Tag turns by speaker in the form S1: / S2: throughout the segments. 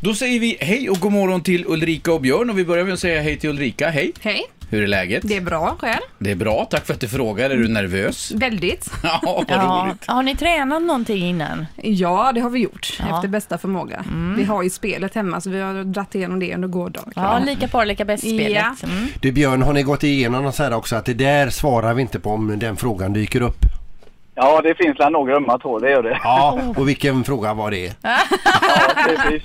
S1: Då säger vi hej och god morgon till Ulrika och Björn och vi börjar med att säga hej till Ulrika. Hej!
S2: Hej,
S1: Hur är läget?
S2: det är bra själv.
S1: Det är bra, tack för att du frågar. Är du nervös?
S2: Väldigt.
S1: Ja, vad
S3: Ja.
S1: roligt.
S3: Har ni tränat någonting innan?
S2: Ja, Mm. det har vi gjort
S3: Ja.
S2: efter bästa förmåga. Vi har ju spelet hemma så vi har dratt igenom det under gårdagen.
S3: Ja, lika par lika bäst-spelet.
S2: Ja.
S3: Mm.
S4: Du Björn, har ni gått igenom något så här också att det där svarar vi inte på om den frågan dyker upp?
S5: Ja, det finns väl några ömma tår, det gör det.
S4: Ja, och vilken fråga var det?
S5: Ja, precis.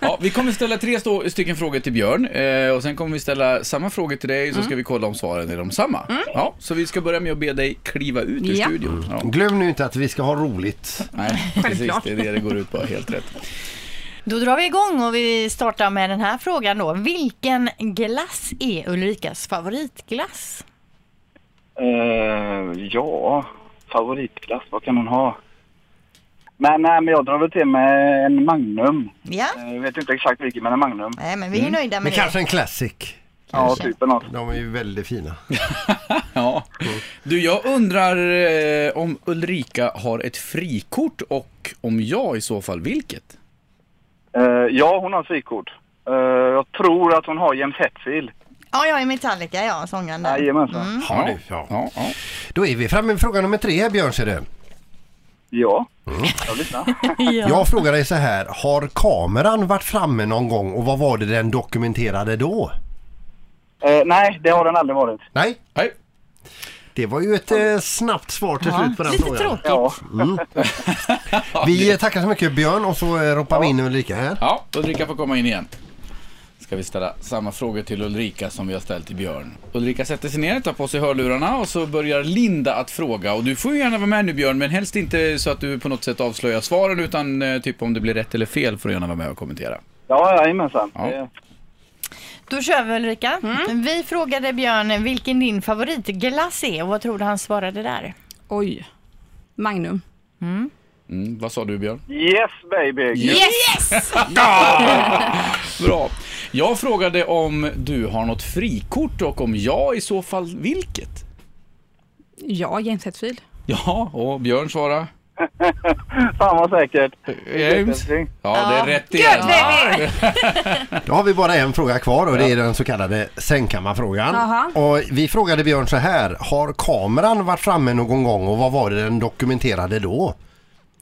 S1: Ja, vi kommer ställa tre stå- stycken frågor till Björn eh, och sen kommer vi ställa samma frågor till dig
S2: Mm.
S1: så ska vi kolla om svaren är de samma. Ja, så vi ska börja med att be dig kliva ut ur
S2: Ja.
S1: studion. Ja.
S4: Glöm nu inte att vi ska ha roligt.
S1: Nej, precis, det är det det går ut på. Helt rätt.
S3: Då drar vi igång och vi startar med den här frågan då. Vilken glass är Ulrikas favoritglass?
S5: Eh, ja, favoritglass, vad kan hon ha? Men, nej, men jag drar väl till med en Magnum.
S3: Ja,
S5: Eh, Jag vet inte exakt vilken, men en Magnum.
S3: nej men vi är nöjda
S4: Men
S3: med det.
S4: kanske en classic.
S5: Ja, typ något.
S4: De är ju väldigt fina.
S1: Ja. Du, jag undrar eh, om Ulrika har ett frikort och om jag i så fall vilket?
S5: Eh, ja, hon har frikort. Eh, jag tror att hon har Jens Hetfield.
S3: Ja, jag är Metallica, ja, sångaren där.
S5: Jajamensan.
S4: Har du? Ja.
S1: Ja, ja.
S4: Då är vi framme vid fråga nummer tre här Björn ser du.
S5: Ja, jag lyssnar.
S4: Jag frågar dig så här, har kameran varit framme någon gång och vad var det den dokumenterade då?
S5: Eh, nej, det har den aldrig varit.
S4: Nej,
S1: Nej.
S4: det var ju ett eh, snabbt svar till slut på den
S3: Lite
S4: frågan. Mm.
S3: tråkigt.
S5: Ja,
S4: Vi eh, tackar så mycket Björn och så eh, ropar vi in Ulrika här.
S1: Ja, Ulrika får komma in igen. Ska vi ställa samma frågor till Ulrika som vi har ställt till Björn. Ulrika sätter sig ner, tar på sig hörlurarna och så börjar Linda att fråga. Och du får ju gärna vara med nu Björn, men helst inte så att du på något sätt avslöjar svaren utan eh, typ om det blir rätt eller fel får du gärna vara med och kommentera.
S5: ja jajamensan.
S1: Ja.
S5: Eh,
S3: Då kör vi Ulrika. Vi frågade Björn vilken din favoritglass är och vad tror du han svarade där?
S2: Oj, Magnum.
S1: Mm, vad sa du Björn?
S5: Yes baby!
S3: Yes!
S1: Bra. Jag frågade om du har något frikort och om jag i så fall vilket?
S2: Ja, James Hetfield.
S1: Ja, och Björn svarade?
S5: Fan vad säkert.
S1: James? Ja, det är rätt igen.
S3: Gött baby!
S4: Då har vi bara en fråga kvar och det är den så kallade sängkammarfrågan.
S2: Aha.
S4: Och vi frågade Björn så här, har kameran varit framme någon gång och vad var det den dokumenterade då?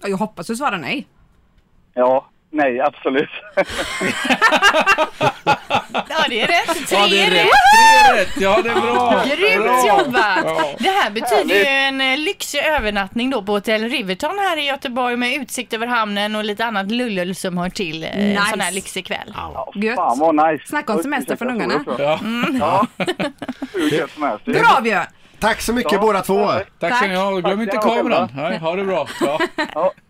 S2: Ja, Jag hoppas du svarar nej.
S5: Ja, nej absolut.
S3: Ja, det är rätt. Tre
S1: Ja, det är rätt.
S3: rätt.
S1: Det är rätt. Ja, det är bra.
S3: Grymt
S1: Bra.
S3: jobbat!
S1: Ja.
S3: Det här betyder ju en eh, lyxig övernattning då på Hotell Riverton här i Göteborg med utsikt över hamnen och lite annat lullul som hör till eh, en
S2: Nice.
S3: sån här lyxig kväll.
S2: Gött.
S5: Fan vad nice.
S2: Snacka om semester från ungarna.
S1: Ja.
S5: Ja, Mm. hur gött som helst.
S2: Bra Björn!
S4: Tack så mycket
S5: Ja.
S4: båda två!
S1: Tack ska ni ha. Och Glöm
S5: Tack
S1: inte
S5: ska ni ha
S1: kameran.
S5: själva.
S1: Nej, ha det bra. Ja.
S5: Ja.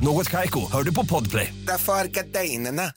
S6: Något Kaiko, hör du på Podplay.
S7: Därför arkadeinerna.